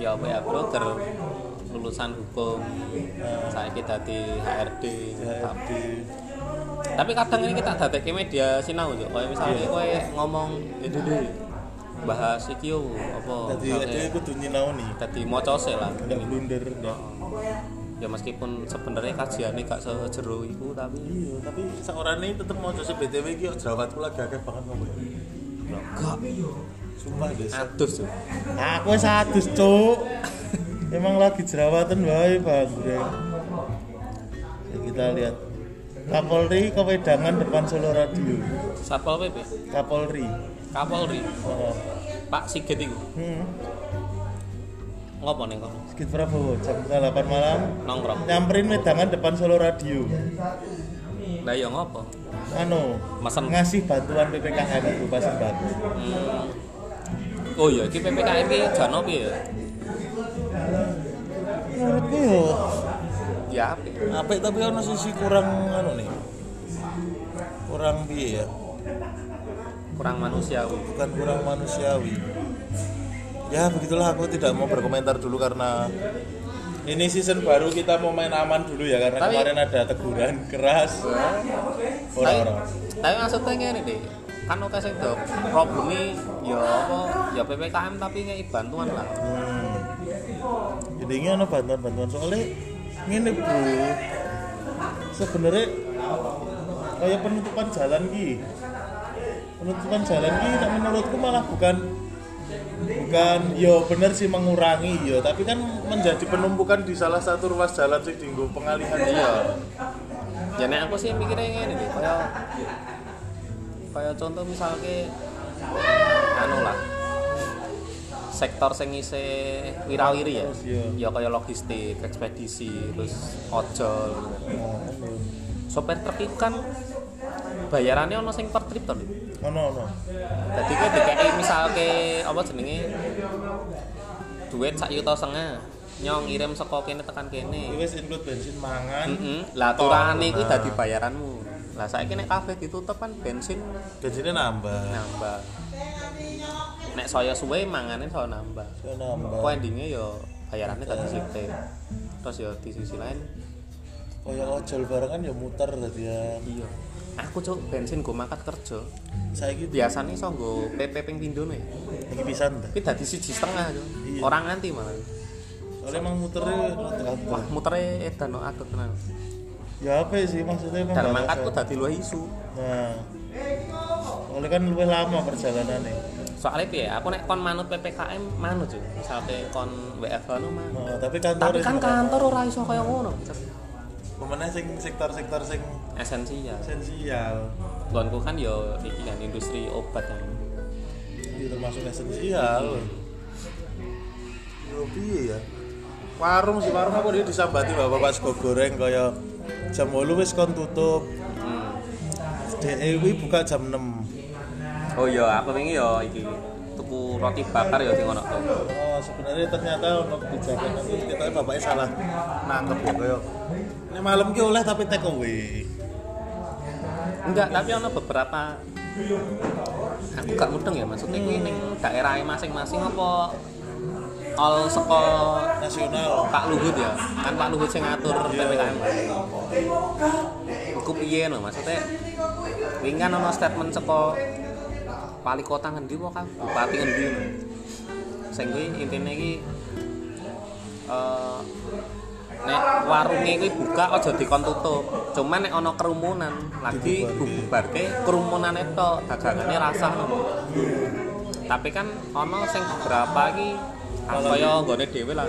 Speaker 1: ya apa ya broker lulusan hukum saiki dadi HRD
Speaker 2: HRD
Speaker 1: tapi kadang ini kita dadekke media sinau yo kaya misalnya kowe ngomong itu deh bahas iki yo apa
Speaker 2: tadi tadi
Speaker 1: misalnya
Speaker 2: aku tuh nyinau nih
Speaker 1: dadi mocose lah
Speaker 2: nggak blunder nggak
Speaker 1: ya meskipun sebenarnya kajiannya gak sejero iku tapi
Speaker 2: iya tapi seorang ini tetep mau coba btw gitu jerawatku lagi agak banget ngomong
Speaker 1: gak
Speaker 2: sumpah guys
Speaker 1: atus yo
Speaker 2: aku satu cuk *laughs* emang lagi jerawatan wae bang Bre. ya, kita lihat Kapolri kewedangan depan Solo Radio
Speaker 1: Satpol PP
Speaker 2: Kapolri
Speaker 1: Kapolri
Speaker 2: oh.
Speaker 1: Pak Sigit iku
Speaker 2: hmm.
Speaker 1: ngopo ning kono
Speaker 2: Sigit Prabowo jam setengah 8 malam
Speaker 1: nongkrong
Speaker 2: nyamperin wedangan depan Solo Radio
Speaker 1: lah ya ngopo
Speaker 2: anu
Speaker 1: Mesen.
Speaker 2: ngasih bantuan PPKM berupa sembako
Speaker 1: oh iya iki PPKM iki jan opo ya
Speaker 2: Menurutku yo
Speaker 1: ya apik
Speaker 2: apik tapi ono sisi kurang anu nih. Kurang piye ya?
Speaker 1: kurang manusiawi
Speaker 2: Bukan kurang manusiawi. Ya begitulah aku tidak mau berkomentar dulu karena ini season baru kita mau main aman dulu ya karena
Speaker 1: Tapi-
Speaker 2: kemarin ada teguran keras orang-orang.
Speaker 1: Tapi, tapi maksudnya ngene deh. Kan oke sing do probleme ya apa ya PPKM tapi ngei bantuan lah.
Speaker 2: Hmm. Jadi ini ada bantuan-bantuan soalnya ini bro sebenarnya kayak penutupan jalan ki penutupan jalan ki nek menurutku malah bukan bukan yo bener sih mengurangi yo tapi kan menjadi penumpukan di salah satu ruas jalan sih dinggo pengalihan iya
Speaker 1: Ya nek aku sih mikirnya ngene deh, kaya kaya contoh misalnya anu lah sektor sing ise wirawiri ya.
Speaker 2: Terus,
Speaker 1: Ya
Speaker 2: iya.
Speaker 1: kaya logistik, ekspedisi, terus ojol. gitu. Sopir truk itu kan bayarannya ono sing per trip to. Dik.
Speaker 2: oh no no
Speaker 1: Jadi kowe dikeki misalke apa jenenge duit sak yuta setengah nyong ngirim saka kene tekan kene.
Speaker 2: wis include bensin mangan
Speaker 1: Heeh. Lah turane iku dadi bayaranmu. Lah saiki nek kabeh ditutup kan bensin
Speaker 2: bensinnya nambah
Speaker 1: nambah. Nek saya suwe mangane saya nambah.
Speaker 2: Yo, nambah
Speaker 1: Kok endinge yo bayarannya dadi sithik. Terus yo di sisi lain
Speaker 2: Kayak ojol bareng kan ya muter tadi ya
Speaker 1: iya. Aku cuk bensin go makat kerja.
Speaker 2: saya gitu
Speaker 1: Biasane iso nggo PP ping pindho nih.
Speaker 2: Iki pisan ta.
Speaker 1: Kuwi dadi siji setengah Cuk.
Speaker 2: Iya.
Speaker 1: Orang nganti malah.
Speaker 2: Soalnya emang muternya
Speaker 1: Wah,
Speaker 2: rata-rata.
Speaker 1: mutere edan no aku tenan.
Speaker 2: Ya apa sih maksudnya emang
Speaker 1: Dan
Speaker 2: batasan.
Speaker 1: mangkatku dadi luwih isu.
Speaker 2: Nah. Soalnya kan lebih lama perjalanannya.
Speaker 1: Soalnya piye, aku nek kon manut PPKM manut yo. Misalnya kon WFH no manut.
Speaker 2: Nah, tapi kantor
Speaker 1: Tapi kan kantor ora iso kaya ngono.
Speaker 2: Pemenang sing sektor-sektor sing
Speaker 1: Esensial.
Speaker 2: esensial.
Speaker 1: Lonku kan yo iki kan industri obat kan.
Speaker 2: Itu termasuk esensial. Yo piye ya? Warung sih warung aku dia disambati bapak pas go goreng kaya jam 8 wis kon tutup.
Speaker 1: Hmm.
Speaker 2: DE kuwi buka jam 6.
Speaker 1: Oh iya, aku wingi yo iki tuku roti bakar ya sing ono tuh.
Speaker 2: Oh, sebenarnya ternyata ono kebijakan itu ternyata bapaknya salah nangkep ya koyo. Ini malam ki oleh tapi take away.
Speaker 1: Enggak, tapi ono beberapa aku gak mudeng ya maksudnya kuwi ning daerah masing-masing apa all seko
Speaker 2: Nasional.
Speaker 1: Pak Luhut ya kan Pak Luhut sing ngatur PPKM iku piye no maksudnya wingi kan ono statement seko wali kota ngendi kok kan bupati ngendi no. sing kuwi intine iki eh nek warunge kuwi buka aja dikon tutup cuman nek ono kerumunan lagi bubarke kerumunane tok dagangane rasah no. tapi kan ono sing beberapa iki apa ya nggone dhewe lah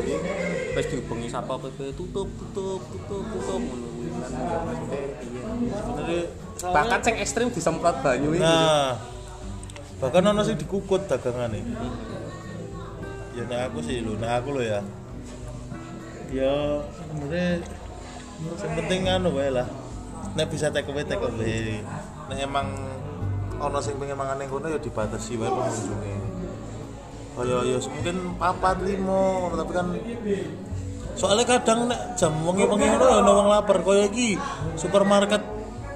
Speaker 1: wis dihubungi sapa PP tutup tutup tutup tutup ngono kuwi kan ya maksudnya piye.
Speaker 2: Sebenarnya
Speaker 1: bahkan sing ekstrim disemprot banyu ini
Speaker 2: Nah, bahkan ono sing dikukut dagangane. Ya nah aku sih lho, nah aku lho ya. Ya sebenarnya yang penting anu wae lah. Nek bisa take away take away. Nek emang ono sing pengen mangan ning kono ya dibatasi wae pengunjunge. Kaya ya mungkin papat limo, tapi kan soalnya kadang nek jam wengi wengi ngono ya ono wong lapar kaya iki supermarket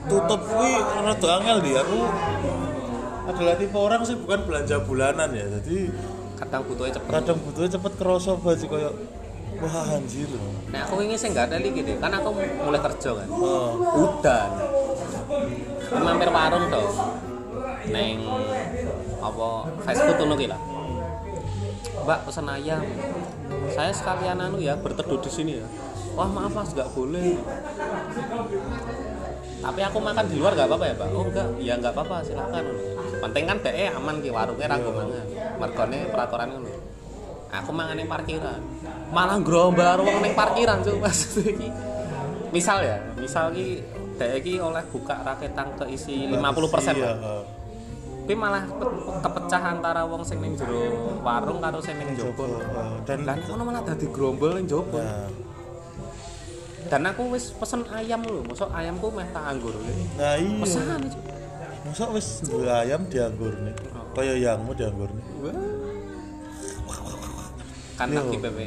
Speaker 2: tutup kuwi rada angel di aku adalah tipe orang sih bukan belanja bulanan ya jadi
Speaker 1: kadang butuhnya cepet
Speaker 2: kadang butuh cepet kerasa baju kaya wah anjir
Speaker 1: nah aku ingin sih nggak ada lagi deh kan aku mulai kerja kan
Speaker 2: oh.
Speaker 1: udan Aku mampir warung tuh neng apa fast food ngono ki lah mbak pesan ayam saya sekalian anu ya berteduh di sini ya wah maaf mas nggak boleh tapi aku makan di luar nggak apa-apa ya pak oh enggak ya nggak apa-apa silakan penting kan deh aman ki warungnya ragu mangan mergone peraturan ngono aku mangan yang parkiran malah gerombar wong neng parkiran cuy mas *laughs* iki misal ya misal ki deh ki oleh buka raketang keisi 50 persen
Speaker 2: Iya,
Speaker 1: tapi malah ke- kepecah antara wong sing ning jero warung karo sing ning
Speaker 2: Joko,
Speaker 1: jopo
Speaker 2: oh. dan
Speaker 1: lan ngono malah dadi grombol ning jopo
Speaker 2: nah,
Speaker 1: dan aku wis pesen ayam lho mosok ayamku meh tak anggur lho
Speaker 2: nah iya
Speaker 1: pesan aja.
Speaker 2: masa wis duwe ayam dianggur nih kaya yangmu dianggur nih
Speaker 1: Wah. kan
Speaker 2: Yo.
Speaker 1: lagi PP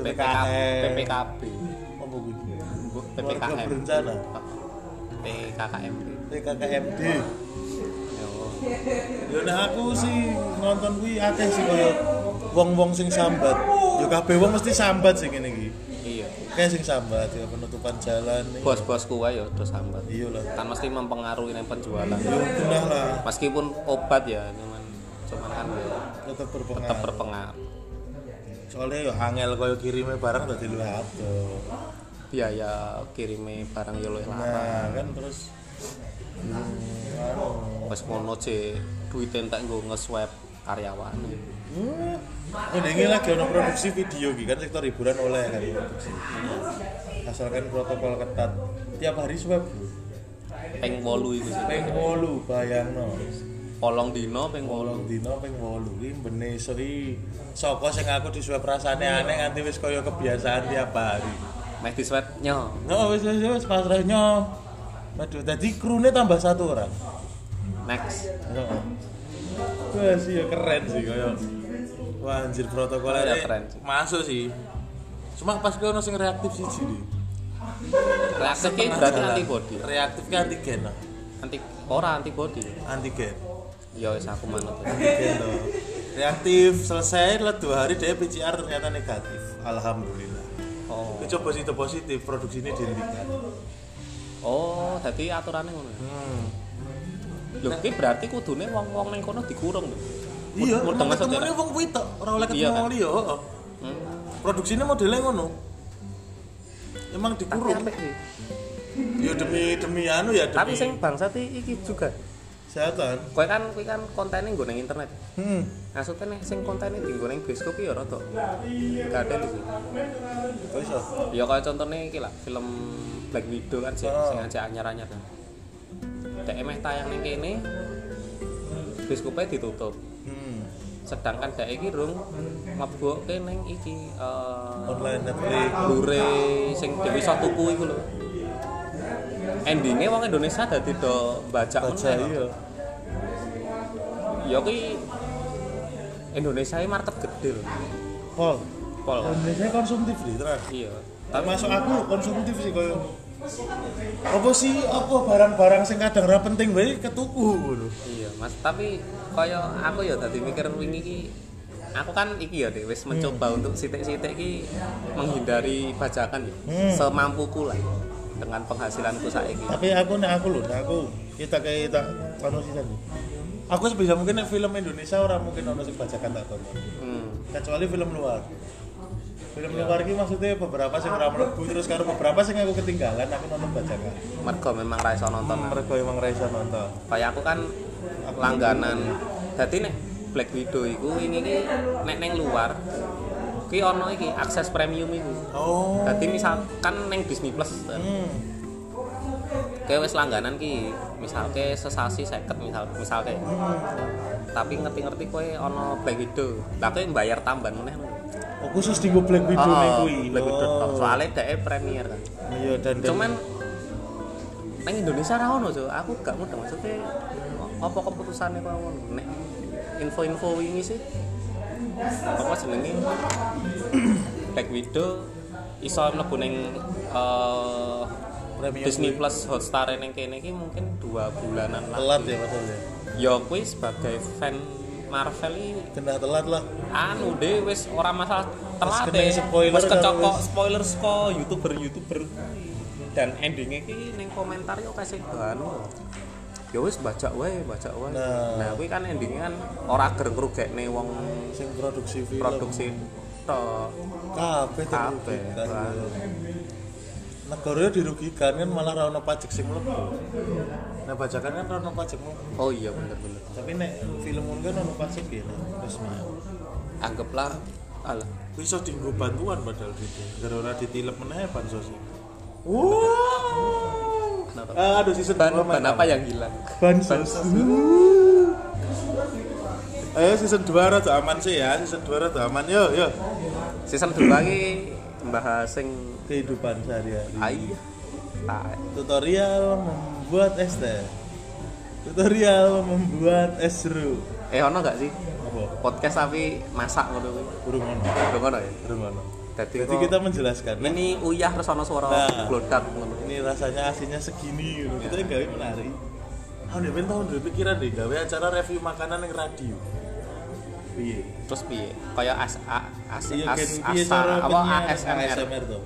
Speaker 1: PPKB
Speaker 2: PPKM.
Speaker 1: PPKB
Speaker 2: apa kuwi keluarga
Speaker 1: PPKM
Speaker 2: berencana
Speaker 1: PKKM
Speaker 2: PKKMD
Speaker 1: Yo.
Speaker 2: ya nah aku sih nonton kuwi akeh sih kaya wong-wong sing sambat ya kabeh wong mesti sambat sih ngene iki
Speaker 1: iya
Speaker 2: akeh sing sambat ya penutupan jalan nih
Speaker 1: bos-bosku wae yo terus sambat
Speaker 2: iya lah
Speaker 1: kan mesti mempengaruhi nang penjualan
Speaker 2: ya benar lah
Speaker 1: meskipun obat ya cuman cuman kan yo tetap
Speaker 2: tetap berpengaruh
Speaker 1: berpengaruh
Speaker 2: soalnya ya angel kaya kirimnya barang dadi luwih abot
Speaker 1: biaya kirime barang yo luwih lah
Speaker 2: nah kan terus hmm, anu.
Speaker 1: wis ngono ce duit entek nggo nge-swab karyawan
Speaker 2: Hmm. Oh, nah ini lagi ono produksi video gitu kan sektor hiburan oleh kan produksi. Asalkan protokol ketat. Tiap hari swab. bro.
Speaker 1: ping 8 iku sih
Speaker 2: Ping 8 bayangno.
Speaker 1: polong dino ping 8
Speaker 2: Wolong dina ping 8 iki bene iso iki saka sing aku disuwep rasane aneh nganti wis kaya kebiasaan tiap hari.
Speaker 1: meh di-swab nyo
Speaker 2: No, wis wis wis pasrahnya. Waduh, tadi krunya tambah satu orang.
Speaker 1: next
Speaker 2: Wah sih ya keren sih kaya. Wah anjir protokolnya
Speaker 1: Ya, keren sih.
Speaker 2: Masuk sih. Cuma pas kau sing reaktif sih jadi.
Speaker 1: reaktif ki berarti antibody
Speaker 2: Reaktif ke antigen lah.
Speaker 1: anti ora antibody
Speaker 2: Antigen.
Speaker 1: ya wis aku manut
Speaker 2: Antigen loh. Reaktif selesai lah dua hari dia PCR ternyata negatif. Alhamdulillah.
Speaker 1: oh
Speaker 2: Kita coba situ positif produksi ini dihentikan.
Speaker 1: oh dadi aturane ngono ya.
Speaker 2: Hmm.
Speaker 1: lho ki berarti kudune wong-wong ning kono dikurung lho
Speaker 2: Iya,
Speaker 1: Mud- mudeng
Speaker 2: emang
Speaker 1: maksudnya.
Speaker 2: ketemunya wong kuwi tok, ora oleh
Speaker 1: Iya,
Speaker 2: ketemu
Speaker 1: kan?
Speaker 2: wong liya, heeh.
Speaker 1: hmm.
Speaker 2: Produksinya modelnya ngono. Emang dikurung. Ya demi demi anu ya demi
Speaker 1: tapi sing bangsa iki juga
Speaker 2: kesehatan.
Speaker 1: kowe kan kowe kan kontennya nggo ning internet
Speaker 2: Hmm.
Speaker 1: Maksudnya nih, sing kontennya di goreng bioskop ya rata Gak ada lagi
Speaker 2: Kok Oh, iso?
Speaker 1: Ya kayak contohnya iki lah, film Black Widow kan sih,
Speaker 2: Oh.
Speaker 1: sing aja anyar-anyar kan Dek emeh tayang ning kene bioskopnya ditutup
Speaker 2: Hmm.
Speaker 1: Sedangkan dek iki rung mabuk ning iki eh
Speaker 2: Online Netflix.
Speaker 1: Blu-ray sing dewe iso tuku iku lho Endingnya wong Indonesia dadi do baca
Speaker 2: Baca iya.
Speaker 1: ya ki Indonesia ini market gede loh.
Speaker 2: Pol.
Speaker 1: Pol.
Speaker 2: Indonesia konsumtif nih terus.
Speaker 1: Iya.
Speaker 2: Tapi masuk aku konsumtif sih koyo. Apa sih apa barang-barang sing kadang ra penting bae ketuku ngono.
Speaker 1: Iya, Mas, tapi kaya aku ya tadi mikir wingi iki aku kan iki ya Dek, wis mencoba untuk sitik-sitik iki menghindari bajakan ya.
Speaker 2: Hmm.
Speaker 1: Semampuku lah dengan penghasilanku saiki.
Speaker 2: Tapi aku nek aku lho, nek aku kita kayak tak anu sih aku. Aku sebisa mungkin nek film Indonesia ora mungkin ono sing bajakan tak tonton.
Speaker 1: Hmm.
Speaker 2: kecuali film luar film luar ini maksudnya beberapa sing ora mlebu terus karo beberapa sing aku ketinggalan aku nonton bajakan
Speaker 1: Mergo memang ra iso nonton.
Speaker 2: mereka emang Raisa nonton
Speaker 1: Kaya aku kan langganan. Dadi nek Black Widow iku wingi iki nek neng luar ki ono iki akses premium iku.
Speaker 2: oh
Speaker 1: Dadi misalkan neng Disney Plus
Speaker 2: hmm.
Speaker 1: kayak wis langganan ki misalnya sesasi seket misal misalnya tapi ngerti-ngerti kowe ono Black Widow lah kowe bayar tambahan meneh
Speaker 2: oh, khusus di Black Widow nih kuwi
Speaker 1: Black Widow
Speaker 2: Oh.
Speaker 1: tok soalnya dhek premier kan
Speaker 2: iya dan dan
Speaker 1: cuman nang Indonesia ra ono Cuk. aku gak mudeng maksudnya apa keputusannya kok ngono nek info-info wingi sih apa
Speaker 2: *clears throat*
Speaker 1: jenenge Black Widow iso mlebu ning eh,
Speaker 2: Premium
Speaker 1: Disney
Speaker 2: kuwi.
Speaker 1: Plus Hotstar ning kene iki mungkin dua bulanan
Speaker 2: telat
Speaker 1: lagi.
Speaker 2: ya padahal ya
Speaker 1: Ya kuwi sebagai fan Marvel ini
Speaker 2: kena telat lah
Speaker 1: anu deh wis ora masalah telat
Speaker 2: kena
Speaker 1: deh.
Speaker 2: spoiler kan,
Speaker 1: Wis kecokok
Speaker 2: karo wis-
Speaker 1: spoiler sko YouTuber-YouTuber dan endingnya iki ning komentar yo kasih bahan. Ya wis baca wae, baca wae.
Speaker 2: Nah.
Speaker 1: Nah, kuwi kan endingnya kan ora gereng ngrugekne wong
Speaker 2: sing produksi film
Speaker 1: produksi tok.
Speaker 2: kabeh
Speaker 1: Kabeh,
Speaker 2: dirugikan
Speaker 1: lah.
Speaker 2: negaranya dirugikan kan malah ra ono pajak sing mlebu nah bajakan kan ra ono pajak mlebu
Speaker 1: Oh iya bener-bener.
Speaker 2: tapi nek film ngono kan ono pajak ya nek resmi
Speaker 1: Anggaplah alah
Speaker 2: Kuwi iso dienggo bantuan padahal gitu. Gara ora ditilep meneh bansos. Eh,
Speaker 1: Kenapa?
Speaker 2: Aduh season
Speaker 1: ban,
Speaker 2: dua
Speaker 1: ban
Speaker 2: main.
Speaker 1: apa yang hilang?
Speaker 2: Bansos. Ayo season 2 rada aman sih ya, season 2 rada aman yo yo.
Speaker 1: Season 2 lagi bahas sing
Speaker 2: Kehidupan sehari-hari.
Speaker 1: ai. Tai.
Speaker 2: Tutorial membuat es teh. Tutorial membuat es jeruk.
Speaker 1: Eh ono gak sih
Speaker 2: Apa?
Speaker 1: podcast tapi masak ngono kuwi?
Speaker 2: Burung ono.
Speaker 1: Dong ono ya.
Speaker 2: Burung ono.
Speaker 1: Dadi
Speaker 2: Jadi
Speaker 1: kok-
Speaker 2: kita menjelaskan. Nek
Speaker 1: ini uyah terus ono suara
Speaker 2: Nah.
Speaker 1: blodak ngono.
Speaker 2: ini rasanya aslinya segini gitu. Kita gawe menarik. Aku udah pengen tahun dulu pikiran deh gawe acara review makanan yang radio. Iya.
Speaker 1: Terus piye? Kaya as a- as
Speaker 2: Iya
Speaker 1: as
Speaker 2: kan piye
Speaker 1: asa
Speaker 2: cara
Speaker 1: apa
Speaker 2: penyiar-
Speaker 1: ASMR.
Speaker 2: ASMR tuh.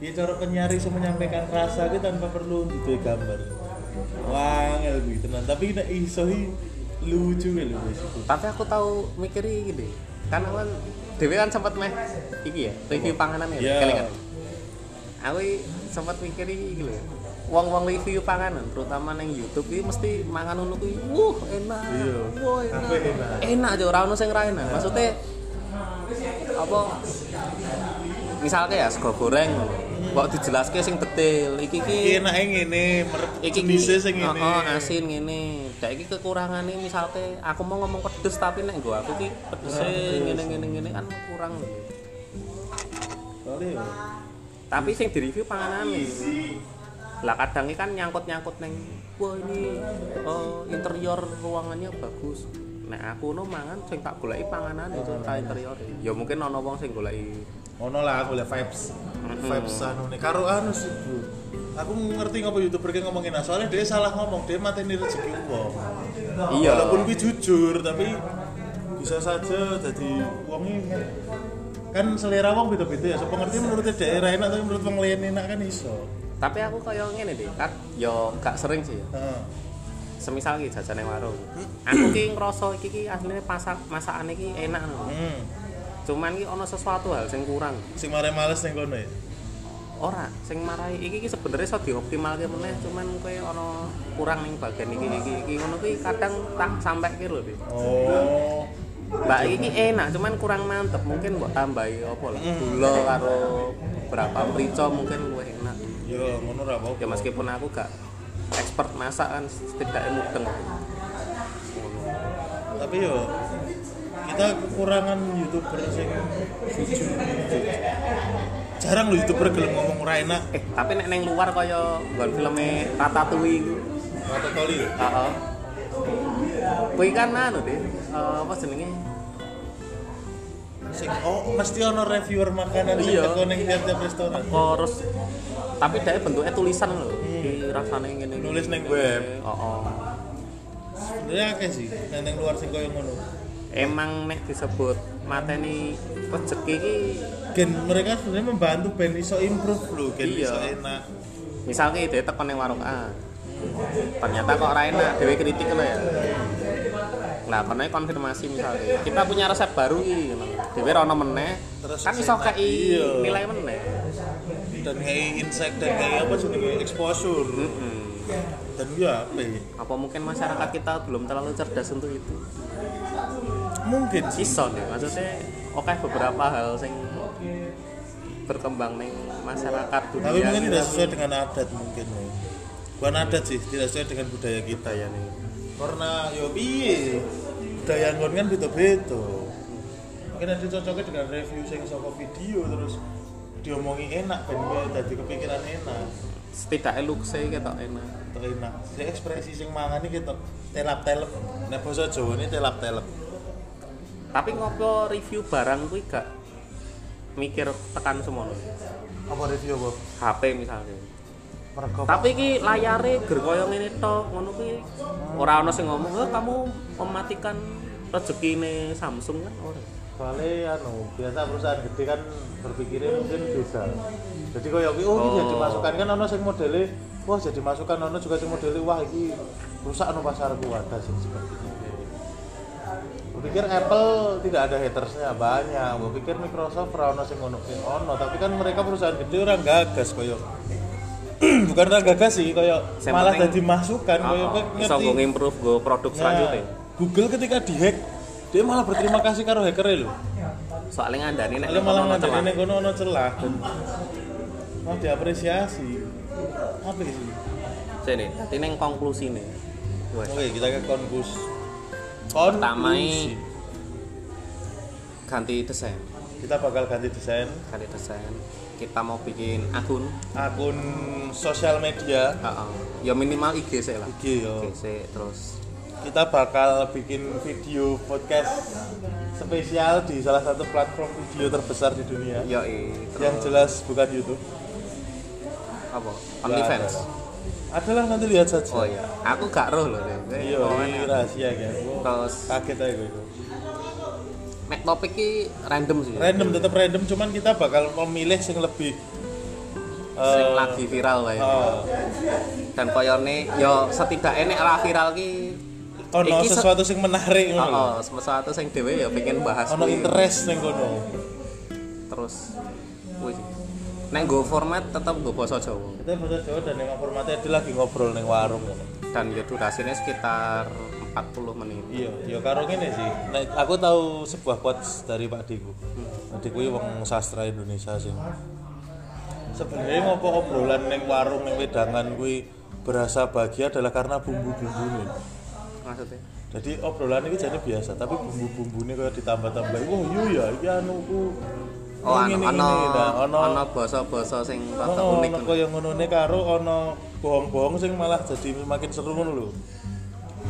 Speaker 2: Piye cara penyiar bisa menyampaikan rasa gitu tanpa perlu duwe gambar. Wah, ngel kuwi tenan. Tapi nek iso i, lucu ya lho wis.
Speaker 1: Tapi aku tahu mikiri gini. Kan aku kan dhewe kan sempat meh iki ya, review panganan ya.
Speaker 2: Iya.
Speaker 1: kelingan. Aku sempat mikiri iki lho. Wong-wong review panganan, terutama neng YouTube iki mesti mangan ngono kuwi. Wuh, enak.
Speaker 2: Iya.
Speaker 1: Wuh,
Speaker 2: Kabeh enak.
Speaker 1: enak. Enak aja ora ono sing ra enak. Maksudnya apa misalnya ya sego goreng kok dijelaske sing detail iki iki
Speaker 2: Iki enake ngene, merep
Speaker 1: iki
Speaker 2: jenise sing ngene.
Speaker 1: Oh, oh, asin ngene. Dak iki kekurangane misalnya aku mau ngomong pedes tapi nek nggo aku ki pedese ngene ngene ngene kan kurang.
Speaker 2: Soale yo.
Speaker 1: Tapi sing direview panganane. Lah kadang iki kan nyangkut-nyangkut neng wah ini eh, interior ruangannya bagus. Nek aku no mangan sing tak goleki panganane itu ta interior. Ya mungkin ono wong sing goleki
Speaker 2: Ono lah aku lihat vibes. Vibes
Speaker 1: Hmm.
Speaker 2: anu nih. Karo anu sih, Bro. Aku ngerti ngapa youtuber ki ngomongin nah, soalnya dia salah ngomong, dia mateni rezeki wong.
Speaker 1: Iya.
Speaker 2: Walaupun kuwi jujur, tapi bisa saja jadi wong kan selera wong beda-beda ya. So, pengerti menurut daerah enak tapi menurut wong lain enak kan iso.
Speaker 1: tapi aku kayak ngene deh kan yo gak sering sih ya.
Speaker 2: Heeh.
Speaker 1: semisal ki jajan neng warung aku ki ngerasa iki ki asline pasak masakan iki enak no.
Speaker 2: Hmm.
Speaker 1: cuman ki ono sesuatu hal sing kurang
Speaker 2: Sing mare males ning kono
Speaker 1: Iya,
Speaker 2: ya.
Speaker 1: ora sing marahi iki ki sebenarnya iso dioptimalke meneh cuman kowe ono kurang ning bagian iki iki iki ngono kuwi kadang tak sampai ki lho Dik.
Speaker 2: Oh.
Speaker 1: Mbak iki enak cuman kurang mantep mungkin mbok tambahi apa lah
Speaker 2: Mm.
Speaker 1: gula karo berapa merica mungkin luwih enak
Speaker 2: Yo iya, ngono ra apa-apa.
Speaker 1: ya meskipun aku gak expert masak kan setidaknya mudeng
Speaker 2: tapi yo kita kekurangan youtuber sing jujur jarang lo youtuber gelem ngomong ora enak
Speaker 1: eh tapi nek neng luar kaya nggon filme Ratatouille iku
Speaker 2: kata kali
Speaker 1: heeh kuwi kan anu deh eh, apa jenenge
Speaker 2: sing oh mesti ono reviewer makanan sing
Speaker 1: Iya.
Speaker 2: teko ning tiap-tiap restoran.
Speaker 1: Kok terus tapi dia bentuknya tulisan loh. Di rasanya ngene.
Speaker 2: Hmm. Nulis
Speaker 1: neng
Speaker 2: neng web.
Speaker 1: Heeh.
Speaker 2: Sebenarnya akeh sih nang nang luar sing koyo ngono.
Speaker 1: Emang nek disebut mateni rezeki iki
Speaker 2: Gen mereka sebenarnya membantu ben iso improve lho, gen
Speaker 1: Iya.
Speaker 2: iso enak.
Speaker 1: misalnya dia tekan yang warung A ternyata kok ora enak dewe kritik lho ya nah karena konfirmasi misalnya kita punya resep baru iki dewe rono meneh
Speaker 2: Terus
Speaker 1: kan iso
Speaker 2: enak.
Speaker 1: kei
Speaker 2: Iya.
Speaker 1: nilai meneh
Speaker 2: Dan kayak insight dan kayak apa jenenge exposure.
Speaker 1: Mm-mm.
Speaker 2: Dan ya apa ya?
Speaker 1: apa mungkin masyarakat kita belum terlalu cerdas untuk itu
Speaker 2: Mungkin sih
Speaker 1: iso nih ya, maksudnya oke beberapa hal sing berkembang ning masyarakat dunia
Speaker 2: tapi mungkin
Speaker 1: kita
Speaker 2: tidak sesuai dengan adat mungkin ya. bukan adat sih tidak sesuai dengan budaya kita ya nih karena yo piye budaya nggon kan beda beda mungkin ada cocoknya dengan review sing saka video terus diomongi enak ben kowe dadi kepikiran enak
Speaker 1: setidaknya lukse ketok enak
Speaker 2: atau enak jadi ekspresi sing mangan iki ketok telap telep nek basa jawane telap telep
Speaker 1: tapi ngopo review barang kuwi gak mikir tekan semono
Speaker 2: apa review apa
Speaker 1: HP misalnya
Speaker 2: mereka
Speaker 1: tapi iki layare ger koyo ngene tok ngono kuwi ora ono sing ngomong "Eh, kamu mematikan rezekine Samsung kan ora
Speaker 4: soalnya anu biasa perusahaan gede kan berpikirnya mungkin bisa jadi kaya kuwi, oh,
Speaker 1: Oh.
Speaker 4: ini jadi masukan kan ono sing modele wah jadi masukan ono juga sing modele wah iki rusak no pasarku ada sih seperti itu berpikir Apple tidak ada hatersnya banyak gue pikir Microsoft ora ono sing ngono sing ono tapi kan mereka perusahaan gede
Speaker 2: itu orang gagas
Speaker 4: *clears throat*
Speaker 2: koyo bukan orang gagas sih koyo
Speaker 1: Yang
Speaker 2: malah
Speaker 1: penting- Ah,
Speaker 2: jadi masukan Kan koyo kowe
Speaker 1: Heeh, iso nggo improve go produk
Speaker 2: Nah,
Speaker 1: selanjutnya
Speaker 2: Google ketika dihack, dia malah berterima kasih karo hacker lho.
Speaker 1: soalnya ngandani nek
Speaker 2: Dia malah
Speaker 1: ono celah
Speaker 2: ngandani ning kono ono Nah, celah dan malah diapresiasi. Apa sih?
Speaker 1: sini dadi ning konklusine wes
Speaker 2: Oke, kita ke konkus.
Speaker 1: Pertamai-
Speaker 2: Konklusi.
Speaker 1: ganti desain
Speaker 2: Kita bakal ganti desain
Speaker 1: ganti desain kita mau bikin akun
Speaker 2: akun sosial media.
Speaker 1: Heeh. ya minimal IG sih lah
Speaker 2: IG yo.
Speaker 1: IG sih terus
Speaker 2: Kita bakal bikin video podcast spesial di salah satu platform video terbesar di dunia.
Speaker 1: yoi
Speaker 2: Yang
Speaker 1: terus
Speaker 2: jelas bukan YouTube.
Speaker 1: apa OnlyFans
Speaker 2: Adalah nanti lihat saja.
Speaker 1: oh iya aku gak roh loh Dek.
Speaker 2: Iya, ini
Speaker 1: Pokoknya
Speaker 2: rahasia kan.
Speaker 1: Terus.
Speaker 2: kaget aja gue.
Speaker 1: nek topik ki random sih
Speaker 2: Random tetap random, cuman kita bakal memilih yang lebih
Speaker 1: sing
Speaker 2: eh,
Speaker 1: lagi viral wae
Speaker 2: eh,
Speaker 1: dan koyone yo setidaknya nek ra viral ki
Speaker 2: ono
Speaker 1: Iki se-
Speaker 2: sesuatu yang menarik ngono. lho.
Speaker 1: Oh, sesuatu sing dhewe ya pengen bahas
Speaker 2: Ono
Speaker 1: kuwi.
Speaker 2: interest ning kono.
Speaker 1: terus kuwi sih. Nek nggo format tetep nggo basa Jawa
Speaker 2: Kita bahasa Jawa dan yang formatnya dia lagi ngobrol ning warung ngono.
Speaker 1: dan ya durasinya sekitar 40 menit.
Speaker 2: Iya, ya karo ngene sih. Nek aku tahu sebuah quotes dari Pak Diku. Pak Diku iki wong sastra Indonesia sih. Sebenarnya ngopo obrolan ning warung ning wedangan kuwi berasa bahagia adalah karena bumbu-bumbune.
Speaker 1: Maksudnya
Speaker 2: Jadi obrolan ini jadi biasa, tapi bumbu-bumbunya kayak ditambah-tambah. Wah, iya ya, iki anu ku.
Speaker 1: Oh,
Speaker 2: Ini,
Speaker 1: ana
Speaker 2: ini,
Speaker 1: ana
Speaker 2: ini. Nah, ono
Speaker 1: ana basa-basa sing rada
Speaker 2: ono
Speaker 1: unik.
Speaker 2: ono
Speaker 1: ngono.
Speaker 2: kaya ngonone karo ono bohong-bohong sing malah jadi makin seru ngono lho.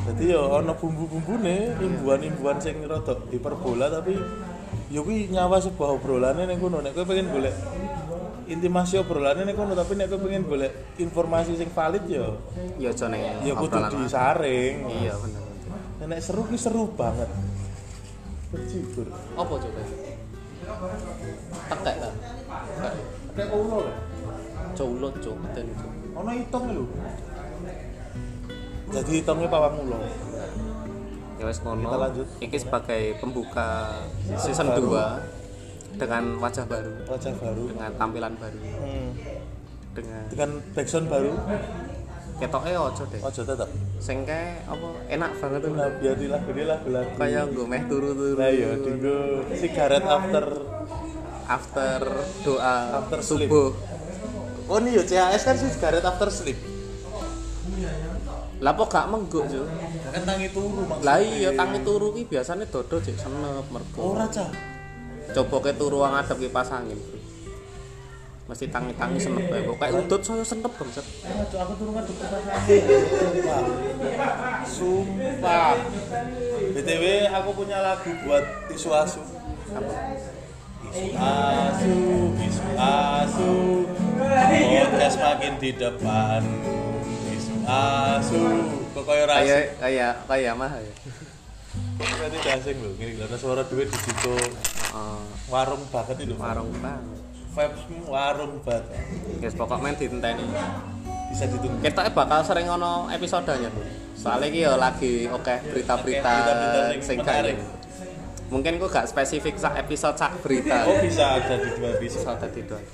Speaker 2: Jadi ya ono bumbu-bumbune, imbuhan-imbuhan sing rada hiperbola tapi ya kuwi nyawa sebuah obrolannya ning kono. Nek kowe pengen golek intimasi obrolannya ning kono, tapi nek kowe pengen golek informasi sing valid ya
Speaker 1: Ya aja ning
Speaker 2: ya kudu
Speaker 1: obrolan wae.
Speaker 2: disaring.
Speaker 1: Iya bener.
Speaker 2: Nek seru ki seru banget. Berjibur.
Speaker 1: Apa coba? Tekek ta.
Speaker 2: Kayak ono lho.
Speaker 1: Culo cuk ten cuk.
Speaker 2: Ono hitung lho. Jadi hitungnya pawang ulo.
Speaker 1: Ya wis ngono.
Speaker 2: Kita lanjut.
Speaker 1: Iki sebagai pembuka season
Speaker 2: Baru.
Speaker 1: 2 dengan wajah baru,
Speaker 2: Wajah baru.
Speaker 1: dengan tampilan baru,
Speaker 2: Hmm.
Speaker 1: dengan
Speaker 2: Dengan backsound baru.
Speaker 1: ketoke ojo deh.
Speaker 2: Ojo tetep.
Speaker 1: Sing kae apa enak banget tuh.
Speaker 2: Nah, biar di lagu ini lagu-lagu.
Speaker 1: Kayak gue meh turu-turu.
Speaker 2: Nah, ya dinggo sigaret after
Speaker 1: after doa
Speaker 2: After sleep.
Speaker 1: subuh.
Speaker 2: Oh nih yo CHS kan sigaret after sleep.
Speaker 1: Lah kok gak mengguk, Cuk?
Speaker 2: Kan tangi turu maksudnya.
Speaker 1: Lah iya tangi turu ki biasane dodo cek senep mergo.
Speaker 2: Ora cah.
Speaker 1: Coba ke turu wong ngadep kipas angin. Bro. Mesti tangi-tangi senep bae. Kok kayak udut saya senep bangset.
Speaker 2: Aduh, aku turun ngaduk ke pasar. Sumpah. Sumpah. BTW aku punya lagu buat isu asu. Asu, isu asu, podcast makin di depan. Isu asu, kok kaya rasa.
Speaker 1: kayak kayak kayak mah ya.
Speaker 2: Berarti gak asing lho, ngene lho, Ada suara duit di situ
Speaker 1: Eh,
Speaker 2: warung banget itu.
Speaker 1: warung bang
Speaker 2: Vibes warung banget.
Speaker 1: guys pokoknya ditenteni
Speaker 2: Bisa ditunggu.
Speaker 1: kita bakal sering ono episodenya tuh soalnya iki yo lagi oke berita-berita
Speaker 2: Oke, berita-berita sing
Speaker 1: sing
Speaker 2: menarik.
Speaker 1: gawe. mungkin kok gak spesifik sak episode sak berita
Speaker 2: Oh bisa ada di dua episode.
Speaker 1: episode tadi doang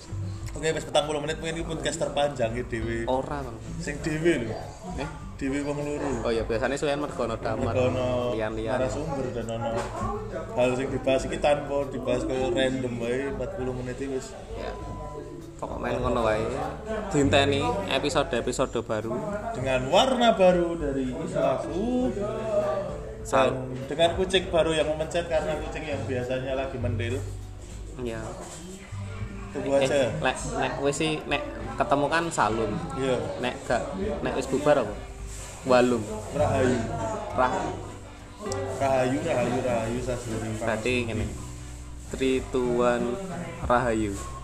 Speaker 2: Oke, wis 40 menit mungkin ini podcast terpanjang ya dewe.
Speaker 1: ora Bang.
Speaker 2: Sing dewe lho,
Speaker 1: eh
Speaker 2: dewe wong loro.
Speaker 1: oh ya biasanya suwen mergono damar
Speaker 2: ono
Speaker 1: lian-lian
Speaker 2: narasumber dan ono hal yang dibahas iki tanpa dibahas kayak random wae 40 menit iki wis
Speaker 1: ya pokoknya ngono wae ditenteni episode-episode baru
Speaker 2: dengan warna baru dari Islaku dan
Speaker 1: Sal-
Speaker 2: dengan kucing baru yang memencet karena kucing yang biasanya lagi mendil
Speaker 1: ya
Speaker 2: tunggu
Speaker 1: eh
Speaker 2: aja
Speaker 1: nek nek wis sih nek ketemu kan salun
Speaker 2: iya
Speaker 1: nek gak nek wis bubar apa walum
Speaker 2: rahayu
Speaker 1: rah
Speaker 2: rahayu rahayu rahayu sasuri
Speaker 1: berarti ngene tri tuan rahayu